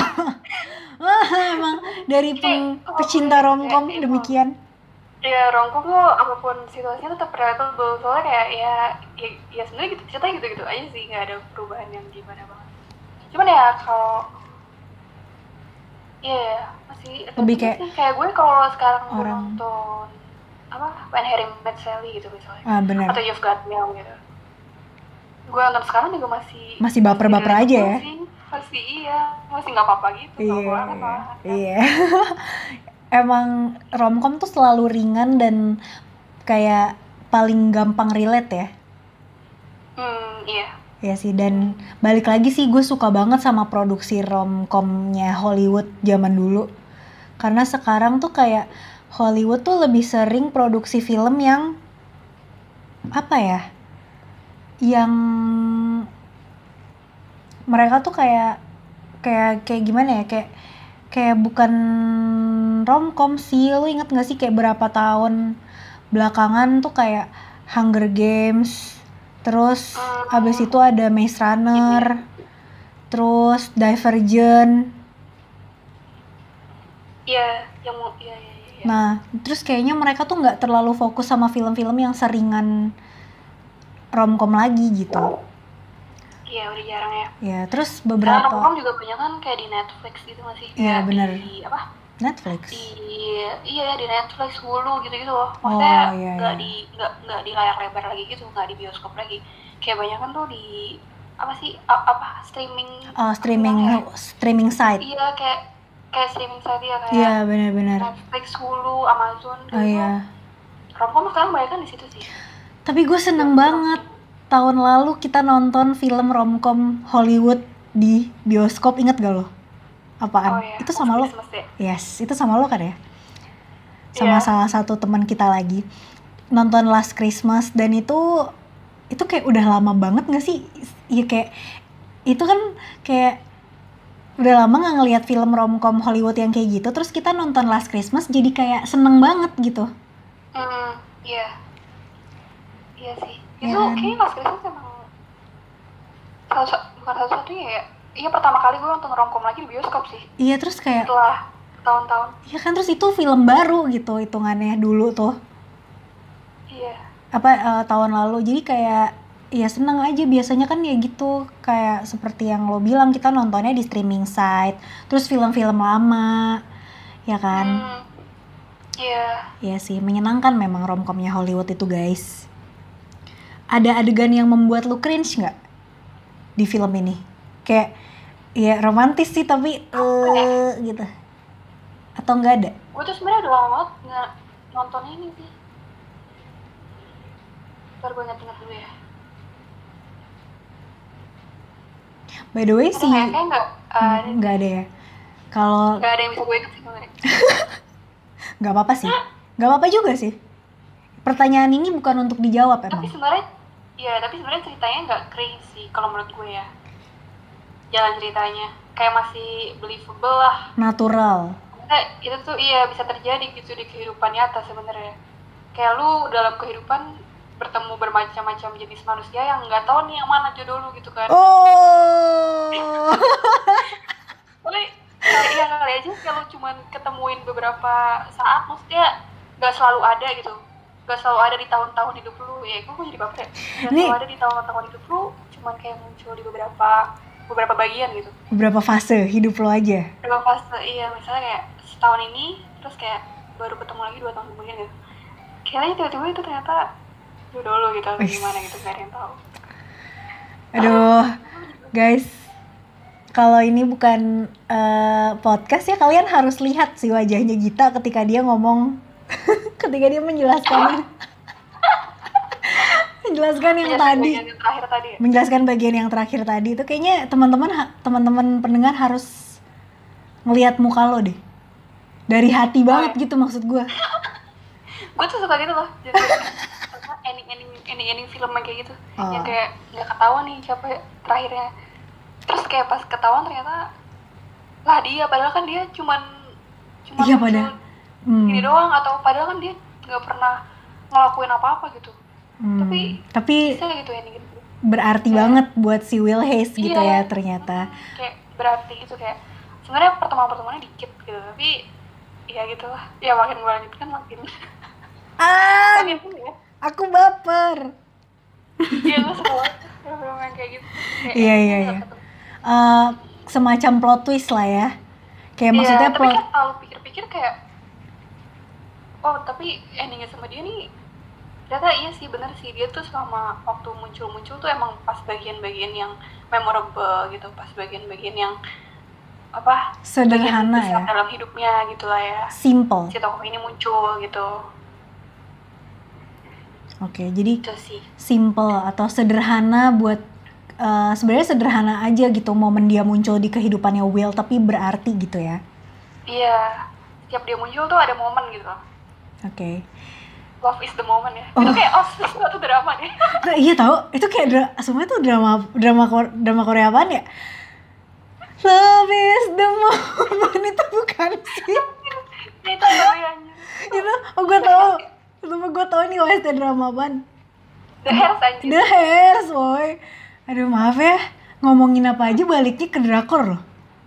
A: emang dari peng- pecinta romcom demikian
B: Ya rongkong tuh apapun situasinya tetap relatable soalnya kayak ya ya, ya sebenarnya gitu cerita gitu gitu aja sih nggak ada perubahan yang gimana banget. Cuman ya kalau ya ya, masih
A: Lebih kayak-
B: sih. kayak gue kalau sekarang gue
A: Orang.
B: nonton apa When Harry Met Sally gitu misalnya
A: ah benar
B: atau You've Got Mail gitu. Gue nonton sekarang juga masih
A: Masih baper-baper
B: masih
A: aja ya?
B: relatable sih. Masih iya masih nggak apa-apa gitu. kalau
A: Iya,
B: orang kan
A: iya,
B: malahan kan.
A: iya. Emang romcom tuh selalu ringan dan kayak paling gampang relate ya.
B: Hmm iya.
A: Ya sih dan balik lagi sih gue suka banget sama produksi romcomnya Hollywood zaman dulu. Karena sekarang tuh kayak Hollywood tuh lebih sering produksi film yang apa ya? Yang mereka tuh kayak kayak kayak gimana ya? Kayak kayak bukan romcom sih. Lu inget gak sih kayak berapa tahun belakangan tuh kayak Hunger Games, terus
B: Hmm.
A: abis itu ada Maze Runner, terus Divergent.
B: Iya, yang mau iya iya iya. iya.
A: Nah, terus kayaknya mereka tuh nggak terlalu fokus sama film-film yang seringan romcom lagi gitu.
B: Iya udah jarang ya.
A: Ya, terus
B: Karena
A: beberapa
B: romcom juga banyak kan kayak di Netflix gitu masih.
A: Iya,
B: Kayak
A: bener.
B: Di apa?
A: Netflix.
B: Di iya di Netflix Hulu gitu-gitu loh.
A: Oh,
B: Maksudnya
A: iya,
B: nggak
A: iya.
B: di nggak nggak di layar lebar lagi gitu, nggak di bioskop lagi. Kayak banyak kan tuh di apa sih a- apa streaming
A: Oh, streaming
B: apa
A: streaming
B: ya?
A: site.
B: iya kayak kayak streaming saja ya kayak
A: Iya, benar-benar.
B: Netflix Hulu Amazon gitu
A: Oh iya.
B: romcom sekarang banyak kan di situ sih
A: Tapi gue seneng banget tahun lalu kita nonton film romcom Hollywood di bioskop, inget gak lo? Apaan?
B: iya.
A: Itu sama lo?
B: Christmas ya?
A: Yes, itu sama lo kan ya? Sama
B: Iya.
A: salah satu teman kita lagi nonton Last Christmas dan itu itu kayak udah lama banget gak sih? Iya kayak itu kan kayak udah lama nggak ngelihat film romcom Hollywood yang kayak gitu terus kita nonton Last Christmas jadi kayak seneng banget gitu
B: Hmm, iya. Iya sih.
A: Ya
B: itu
A: kan?
B: kayaknya Mas Christmas emang salah satu, bukan salah satunya ya. Iya pertama kali gue nonton romcom lagi di bioskop sih.
A: iya terus kayak
B: Setelah tahun-tahun.
A: Ya kan terus itu film baru gitu hitungannya dulu tuh
B: Iya.
A: apa eh, tahun lalu jadi kayak ya seneng aja biasanya kan ya gitu kayak seperti yang lo bilang kita nontonnya di streaming site terus film-film lama ya kan
B: Hmm. Iya.
A: ya sih menyenangkan memang romcomnya Hollywood itu guys ada adegan yang membuat lo cringe nggak di film ini kayak ya romantis sih tapi
B: ya?
A: eh gitu atau nggak ada
B: Gue tuh sebenarnya udah lama banget nggak nonton ini sih. Ntar gue ingat-ingat dulu ya.
A: by the way
B: Ada
A: sih
B: nggak ya? Kayaknya nggak uh,
A: Hmm, nggak ada ya kalau
B: nggak ada yang bisa gue inget sih sebenarnya.
A: nggak apa-apa sih nggak apa-apa juga sih pertanyaan ini bukan untuk dijawab
B: tapi
A: emang
B: sebenarnya ya tapi sebenarnya ceritanya nggak crazy kalau menurut gue ya jalan ceritanya kayak masih believable lah
A: natural
B: Maksudnya itu tuh iya bisa terjadi gitu di kehidupan nyata sebenarnya kayak lu dalam kehidupan bertemu bermacam-macam jenis manusia yang nggak tahu nih yang mana jodoh lu gitu kan
A: oh
B: kali kali- ya kali aja kalau cuman ketemuin beberapa saat maksudnya nggak selalu ada gitu nggak selalu ada di tahun-tahun hidup lu ya gue jadi baper ya nggak
A: Nih.
B: selalu ada di tahun-tahun hidup lu cuman kayak muncul di beberapa beberapa bagian gitu
A: beberapa fase hidup lo aja
B: beberapa fase iya misalnya kayak setahun ini terus kayak baru ketemu lagi dua tahun kemudian gitu kayaknya tiba-tiba itu ternyata jodoh lu gitu atau
A: Wih.
B: gimana gitu gak ada yang tahu
A: aduh guys kalau ini bukan eh, podcast ya kalian harus lihat si wajahnya Gita ketika dia ngomong ketika dia menjelaskan menjelaskan yang
B: Penjelasan
A: tadi
B: Iya, bagian yang terakhir tadi ya.
A: menjelaskan bagian yang terakhir tadi itu kayaknya teman-teman ha- teman-teman pendengar harus ngelihat muka lo deh dari hati
B: Oh,
A: banget
B: iya.
A: gitu maksud gue
B: gue tuh suka gitu loh jadi apa, ending ending ending ending film yang kayak gitu
A: Oh.
B: yang kayak nggak ketahuan nih siapa terakhirnya terus kayak pas ketahuan ternyata lah dia padahal kan dia cuman cuman
A: Iya,
B: muncul
A: padahal. Hmm,
B: gini doang atau padahal kan dia nggak pernah ngelakuin apa apa gitu
A: hmm. tapi
B: tapi- bisa gitu ending gitu
A: berarti
B: Iya.
A: banget buat si Will Hayes gitu
B: Iya.
A: ya ternyata
B: Hmm, kayak berarti gitu kayak sebenarnya pertemuan pertemuannya dikit gitu tapi ya gitu lah ya makin gue lanjutkan makin
A: ah
B: makin seru ya
A: aku baper
B: iya gue suka banget film yang kayak gitu Kayak
A: Iya, iya,
B: nggak
A: iya.
B: ketemu.
A: Eh, semacam plot twist lah ya kayak
B: Iya,
A: maksudnya
B: tapi
A: plot
B: kan kalau pikir-pikir kayak oh tapi endingnya sama dia nih ternyata iya sih bener sih dia tuh selama waktu muncul-muncul tuh emang pas bagian-bagian yang memorable gitu pas bagian-bagian yang apa bagian
A: sederhana
B: besar
A: ya
B: dalam hidupnya gitu lah ya
A: simple
B: si tokoh ini muncul gitu
A: oke jadi
B: itu sih
A: simple atau sederhana buat eh, sebenarnya sederhana aja gitu momen dia muncul di kehidupannya Will tapi berarti gitu ya
B: iya setiap dia muncul tuh ada momen gitu loh
A: oke
B: love is the moment ya
A: Oh.
B: itu kayak oh sesuatu drama deh
A: Nah, iya tahu itu kayak dra- semuanya tuh drama drama Kor- drama Korea apaan ya Love is the moment itu bukan sih
B: itu doyannya
A: itu oh gue tahu cuma gue tahu ini OST drama apaan
B: the
A: Nah,
B: hairs anjir
A: The Hairs boy aduh maaf ya ngomongin apa aja baliknya ke drakor loh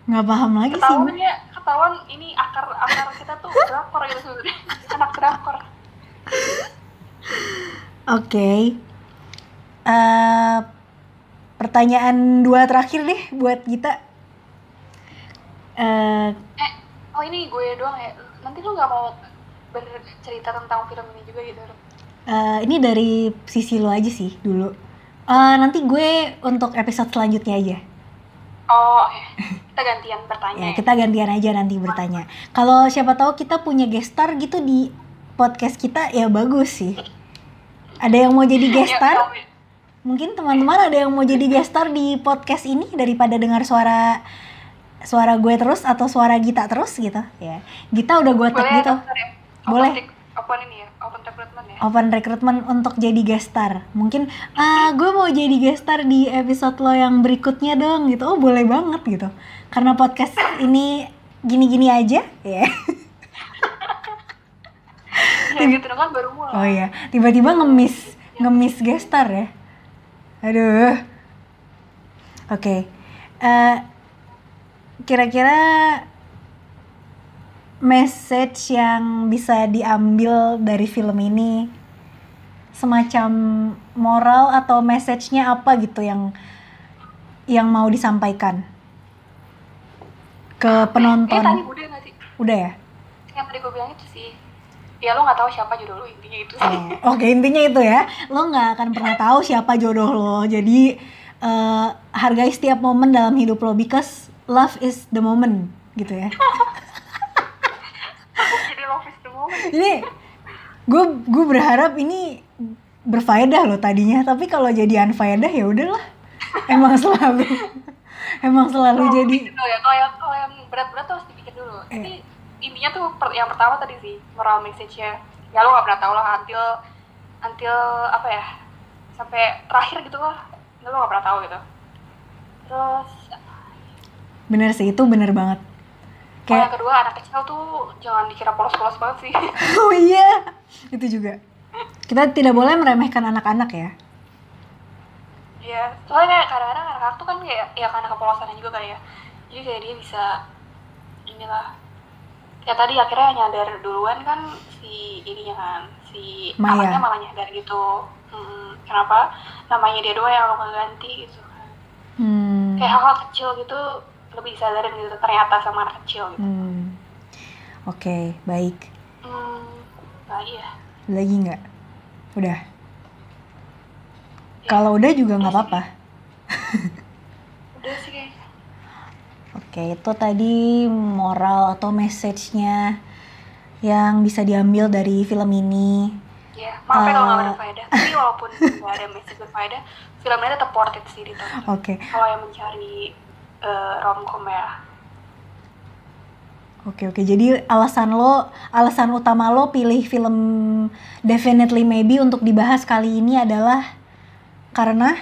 A: nggak paham lagi sih
B: ketahuan ya ketahuan ini akar akar kita tuh drakor gitu sebenarnya anak drakor
A: Oke. Eh, pertanyaan dua terakhir deh buat Gita. Eh,
B: Eh, oh ini gue doang ya. Nanti lu nggak mau bercerita tentang film ini juga gitu? Ruth?
A: eh, ini dari sisi lo aja sih dulu. Eh, nanti gue untuk episode selanjutnya aja.
B: Oh, oke. kita gantian bertanya.
A: Ya,
B: ya.
A: kita gantian aja nanti bertanya. Kalau siapa tahu kita punya guest star gitu di podcast kita ya bagus sih. Ada yang mau jadi guest
B: Ya,
A: star?
B: Tommy.
A: Mungkin teman-teman ada yang mau jadi guest star di podcast ini daripada dengar suara suara gue terus atau suara Gita terus gitu ya. Gita udah gue tag
B: Boleh
A: gitu.
B: daftar ya?
A: Boleh.
B: Open, rec- open ini ya, open recruitment ya.
A: Open recruitment untuk jadi guest star. Mungkin ah gue mau jadi guest star di episode lo yang berikutnya dong gitu. Oh, boleh banget gitu. Karena podcast ini gini-gini aja ya.
B: Ya gitu dong kan baru mulai.
A: Oh iya, tiba-tiba ngemis ngemis gestar ya. Aduh. Oke. Eh, kira-kira message yang bisa diambil dari film ini semacam moral atau message-nya apa gitu yang yang mau disampaikan ke
B: Eh, tadi
A: penonton.
B: udah nggak sih?
A: Udah ya?
B: Yang tadi gue bilang itu sih. Ya lo nggak tahu siapa jodoh lo intinya itu sih.
A: Oh, Oke intinya itu ya, lo nggak akan pernah tahu siapa jodoh lo. Jadi eh, hargai setiap momen dalam hidup lo, because love is the moment, gitu ya.
B: Jadi love is the moment.
A: Ini gue gue berharap ini berfaedah lo tadinya, tapi kalau jadi unfaedah ya udahlah. Emang selalu emang selalu
B: Kalau
A: jadi.
B: bikin dulu ya, kalau yang kalau yang berat-berat tuh harus dipikir dulu.
A: Iya.
B: Ini intinya tuh per- yang pertama tadi sih moral message-nya. Ya lo nggak pernah tahu lah until until apa ya sampai terakhir gitu lah. Lo nggak pernah tahu gitu. Terus
A: Bener sih itu bener banget.
B: kalau yang
A: Kayak
B: kedua anak kecil tuh jangan dikira polos-polos banget sih.
A: oh iya itu juga. Kita tidak boleh meremehkan anak-anak ya.
B: Iya, soalnya kayak kadang-kadang anak-anak tuh kan kayak ya karena kepolosannya juga kali ya. Jadi kayak dia bisa inilah ya tadi akhirnya nyadar duluan kan si ininya kan si
A: Maya.
B: anaknya malah nyadar gitu. Mm, kenapa namanya dia doang yang lo nggak ganti gitu kan.
A: Hmm.
B: Kayak hal-hal kecil gitu lebih disadarin gitu ternyata sama anak kecil gitu.
A: Hmm. Oke, baik.
B: Hmm, nah iya.
A: Ada Lagi nggak? Udah.
B: Ya,
A: Kalau udah juga nggak apa-apa.
B: Udah sih kayaknya.
A: Oke, itu tadi moral atau message-nya yang bisa diambil dari film ini.
B: Iya, maaf ya kalau nggak
A: Eh.
B: ada faedah. Tapi walaupun nggak ada message berfaedah, filmnya tetap worth it sih ditonton.
A: Oke,
B: kalau yang mencari eh, romcom ya
A: oke, oke. Jadi alasan lo, alasan utama lo pilih film Definitely Maybe untuk dibahas kali ini adalah karena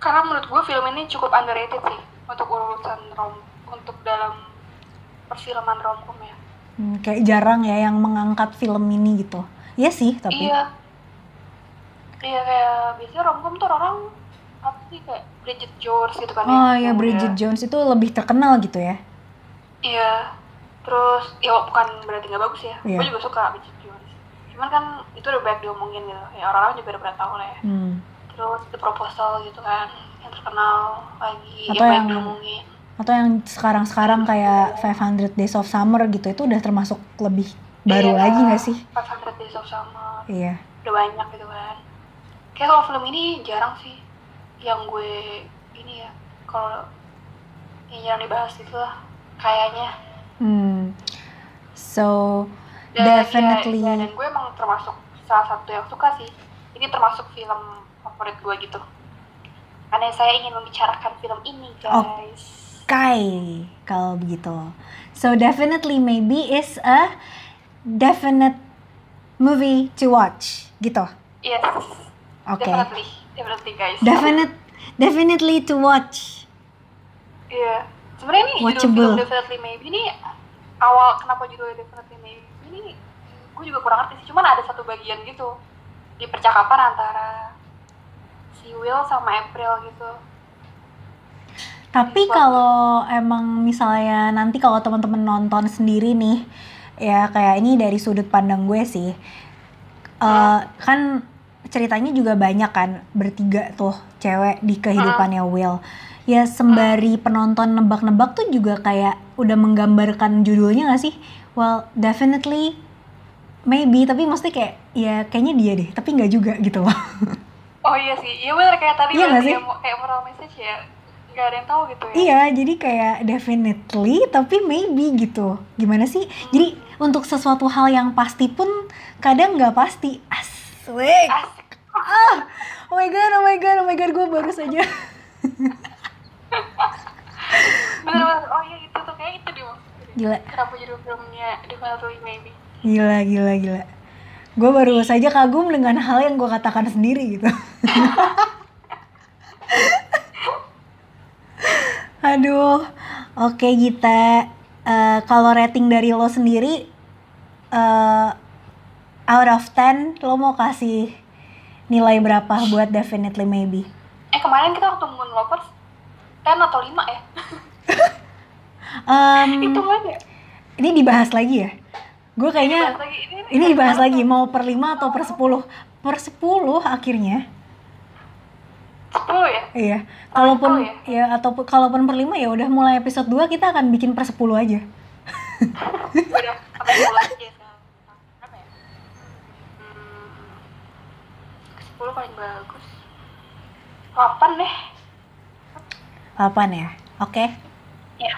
B: karena menurut gue film ini cukup underrated sih untuk urusan rom untuk dalam perfilman romcom ya
A: hmm, kayak jarang ya yang mengangkat film ini gitu. Iya sih, tapi
B: iya iya kayak biasanya romcom tuh orang apa sih kayak Bridget Jones gitu kan
A: Oh ya
B: ya Yang
A: Bridget
B: udah-
A: Jones itu lebih terkenal gitu ya.
B: iya terus ya bukan berarti nggak bagus ya
A: Iya.
B: gue juga suka Bridget Jones cuman kan itu udah banyak diomongin gitu ya orang-orang juga udah pernah tahu lah ya
A: Hmm.
B: terus The Proposal gitu kan yang terkenal lagi
A: Atau
B: yang banyak
A: yang-
B: diomongin
A: Atau yang sekarang-sekarang kayak 500 Days of Summer gitu itu udah termasuk lebih baru
B: Iya,
A: lagi nggak sih?
B: 500 Days of Summer
A: Iya.
B: udah banyak gitu kan kayak kalau film ini jarang sih yang gue ini ya kalau yang jarang dibahas gitu lah kayaknya
A: Hmm. So
B: Dan
A: Definitely.
B: ya- ya, dan gue emang termasuk salah satu yang suka sih ini termasuk film favorit gue gitu karena saya ingin membicarakan film ini guys
A: Kai kalau begitu. So definitely maybe is a definite movie to watch gitu.
B: yes
A: Oke.
B: definitely definitely guys
A: Definite definitely to watch.
B: Iya. Sebenarnya ini
A: Watchable.
B: judul film Definitely Maybe ini awal kenapa judulnya Definitely Maybe ini gue juga kurang ngerti sih. Cuman ada satu bagian gitu di percakapan antara si Will sama April gitu.
A: Tapi
B: Suatu-
A: kalau emang misalnya nanti kalau teman-teman nonton sendiri nih, ya kayak ini dari sudut pandang gue sih, Eh,
B: Hmm.
A: kan ceritanya juga banyak kan bertiga tuh cewek di kehidupannya Will ya sembari penonton nebak-nebak tuh juga kayak udah menggambarkan judulnya gak sih well definitely maybe tapi mesti kayak ya kayaknya dia deh tapi nggak juga gitu loh
B: Oh iya sih, iya bener kayak
A: Iya
B: tadi yang
A: nggak sih?
B: kayak moral message ya nggak ada yang tahu gitu ya.
A: Iya, jadi kayak definitely tapi maybe gitu. Gimana sih? Jadi untuk sesuatu hal yang pasti pun kadang nggak pasti. Asik.
B: Asik.
A: Oh my god, oh my god, oh my god, gue baru saja.
B: Bener bener. Oh iya itu tuh kayak itu dia maksudnya.
A: Gila,
B: Kenapa judul filmnya Definitely Maybe?
A: gila, gila, gila. Gue baru saja kagum dengan hal yang gue katakan sendiri gitu. Aduh, oke Gita. Eh, Kalau rating dari lo sendiri, eh out of 10, lo mau kasih nilai berapa buat Definitely Maybe?
B: Eh kemarin kita waktu Moon Lovers 10 atau 5 ya?
A: Em,
B: Itu kan ya?
A: ini dibahas lagi ya? Gue kayaknya
B: Bahas lagi. Ini,
A: Ini dibahas lagi, mau per 5 atau per 10? Per 10 akhirnya.
B: 10 ya?
A: Iya. Kalaupun
B: Oh,
A: ya ataupun kalaupun per 5 ya udah mulai episode 2 kita akan bikin per 10 aja.
B: Udah, sampai mulai aja sekarang. Berapa ya? Hmm, 10 paling bagus 8 deh
A: 8 ya. Oke.
B: Iya.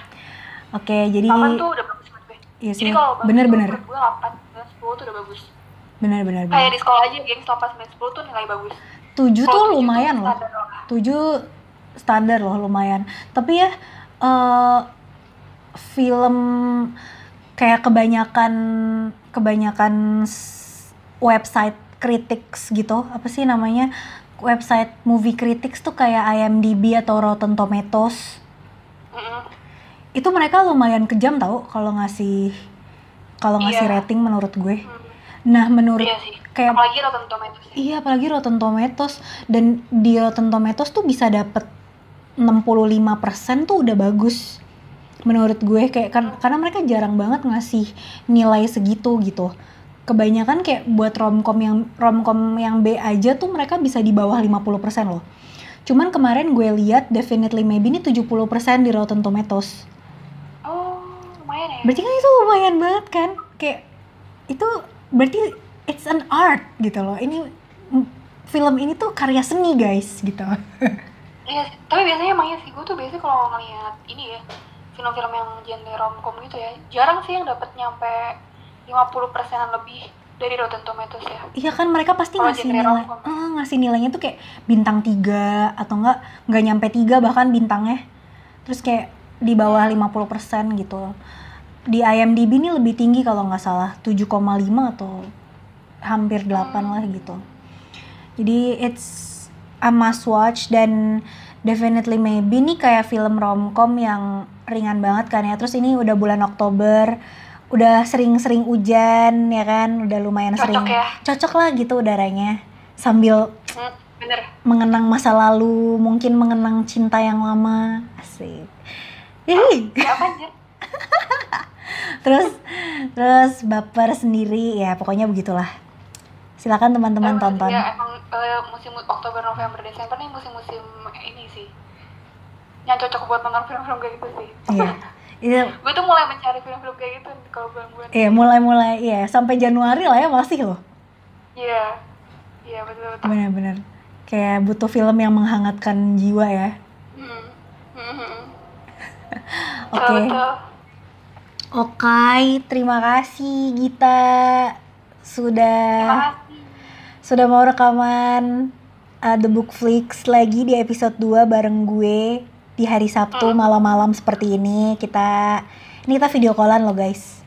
A: Oke, jadi
B: 8 tuh udah bagus menurut gue
A: iya sih.
B: Jadi kalau bagus tuh
A: Bener-bener.
B: menurut gue 8, 10 tuh udah bagus
A: Bener-bener.
B: Kayak di sekolah aja, gengs 8, 9, 10 tuh nilai bagus
A: 7 tuh
B: Kalau tujuh
A: lumayan loh.
B: standar lah.
A: 7 standar loh lumayan. Tapi ya eh, film kayak kebanyakan kebanyakan s- website critics gitu, apa sih namanya? Website movie critics tuh kayak IMDb atau Rotten Tomatoes.
B: Mm-mm.
A: Itu mereka lumayan kejam tau kalau ngasih kalau ngasih
B: Iya.
A: rating menurut gue.
B: Hmm.
A: Nah, menurut
B: Iya sih
A: kayak
B: Apalagi Rotten Tomatoes ya.
A: Iya, apalagi Rotten Tomatoes dan di Rotten Tomatoes tuh bisa dapet 65% tuh udah bagus. Menurut gue kayak kan karena mereka jarang banget ngasih nilai segitu gitu. Kebanyakan kayak buat romcom yang romcom yang B aja tuh mereka bisa di bawah 50% loh. Cuman kemarin gue lihat Definitely Maybe ini 70% di Rotten Tomatoes.
B: Oh, lumayan ya
A: Berarti kan itu lumayan banget kan? Kayak itu berarti it's an art gitu loh. Ini mm, film ini tuh karya seni guys gitu.
B: Iya sih. Tapi biasanya emangnya sih, gue tuh biasanya kalau ngeliat ini ya Film-film yang genre romcom gitu ya Jarang sih yang dapat nyampe 50% lebih dari Rotten Tomatoes ya
A: Iya kan mereka pasti
B: Kalau
A: ngasih
B: genre
A: nilai,
B: romcom.
A: eh, ngasih nilainya tuh kayak bintang 3 atau enggak nggak nyampe 3 bahkan bintangnya. Terus kayak di bawah 50% gitu. Di IMDb ini lebih tinggi kalau nggak salah 7,5 atau hampir 8 lah
B: Hmm.
A: gitu. Jadi it's a must watch dan definitely maybe nih kayak film romcom yang ringan banget kan ya. Terus ini udah bulan Oktober, udah sering-sering hujan ya kan, udah lumayan sering.
B: Cocok ya
A: Cocok lah gitu udaranya sambil
B: Hmm, bener.
A: mengenang masa lalu, mungkin mengenang cinta yang lama. Asik. Ih.
B: Ya, apa anjir?
A: Terus terus baper sendiri ya, pokoknya begitulah. Silakan teman-teman
B: Eh,
A: tonton.
B: Ya, emang eh, musim Oktober, November, Desember nih musim-musim ini sih. Yang cocok buat nonton film-film kayak gitu sih.
A: Iya. Itu
B: Gue tuh mulai mencari film-film kayak gitu kalau bulan-bulan.
A: Iya, mulai-mulai ya sampai Januari lah ya masih loh.
B: Iya. Iya, betul-betul.
A: Benar-benar. Kayak butuh film yang menghangatkan jiwa ya.
B: Hmm. Hmm.
A: Oke. Ya.
B: Betul-betul.
A: Oke, terima kasih Gita
B: Terima
A: sudah
B: kasih.
A: sudah mau rekaman uh, The Book Flix lagi di episode 2 bareng gue di hari Sabtu
B: Hmm.
A: malam-malam seperti ini. Kita ini kita video callan loh, guys.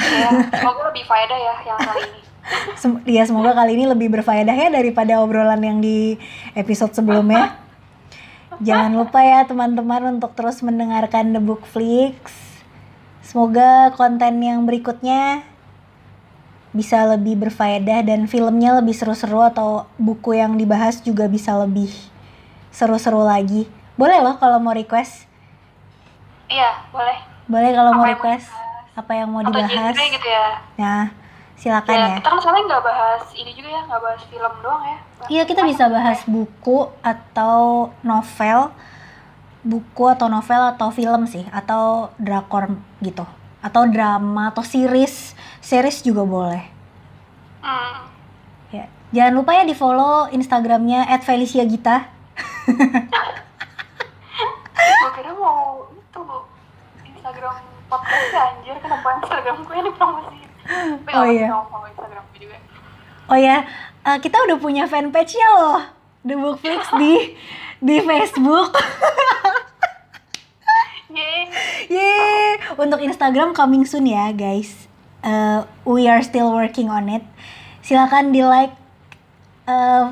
B: Iya, semoga lebih faedah ya yang kali ini.
A: Sem- ya semoga kali ini lebih berfaedah ya daripada obrolan yang di episode sebelumnya. Jangan lupa ya teman-teman untuk terus mendengarkan The Book Flix. Semoga konten yang berikutnya bisa lebih berfaedah dan filmnya lebih seru-seru atau buku yang dibahas juga bisa lebih seru-seru lagi. Boleh loh kalau mau request.
B: Iya, boleh.
A: Boleh kalau mau
B: Apa yang mau
A: request
B: dibahas?
A: apa yang mau
B: Atau
A: dibahas.
B: genre gitu ya.
A: Nah, silakan
B: Ya,
A: ya.
B: kita kan selama nggak bahas ini juga ya, nggak bahas film doang ya.
A: Iya kita bisa bahas buku atau novel, buku atau novel atau film sih, atau drakor gitu, atau drama atau series, series juga boleh.
B: Hmm.
A: Ya. Jangan lupa ya di follow instagramnya @feliciagita.
B: Gue kira mau itu Instagram podcast ya anjir, kenapa Instagram gue yang dipromosiin? Tapi
A: Oh,
B: nggak apa-apa,
A: iya.
B: nggak mau follow Instagram gue juga.
A: Oh ya, eh, kita udah punya fanpage nya loh, The Bookflix di di Facebook.
B: Yeay.
A: Yeay, untuk Instagram coming soon ya guys. Eh, we are still working on it. Silakan di like eh,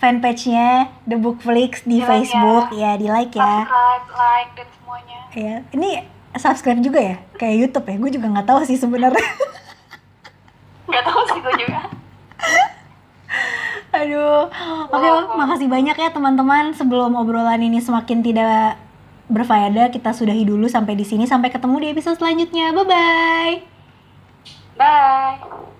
A: fanpage-nya The Bookflix di
B: Di-like ya.
A: Facebook ya. di like ya.
B: Subscribe, like, dan semuanya.
A: Ya, ini subscribe juga ya kayak YouTube ya. Gue juga nggak tahu sih sebenarnya.
B: Nggak tahu sih gue juga.
A: Aduh, oke, makasih banyak ya teman-teman. Sebelum obrolan ini semakin tidak berfaedah, kita sudahi dulu sampai di sini. Sampai ketemu di episode selanjutnya. Bye bye.
B: Bye.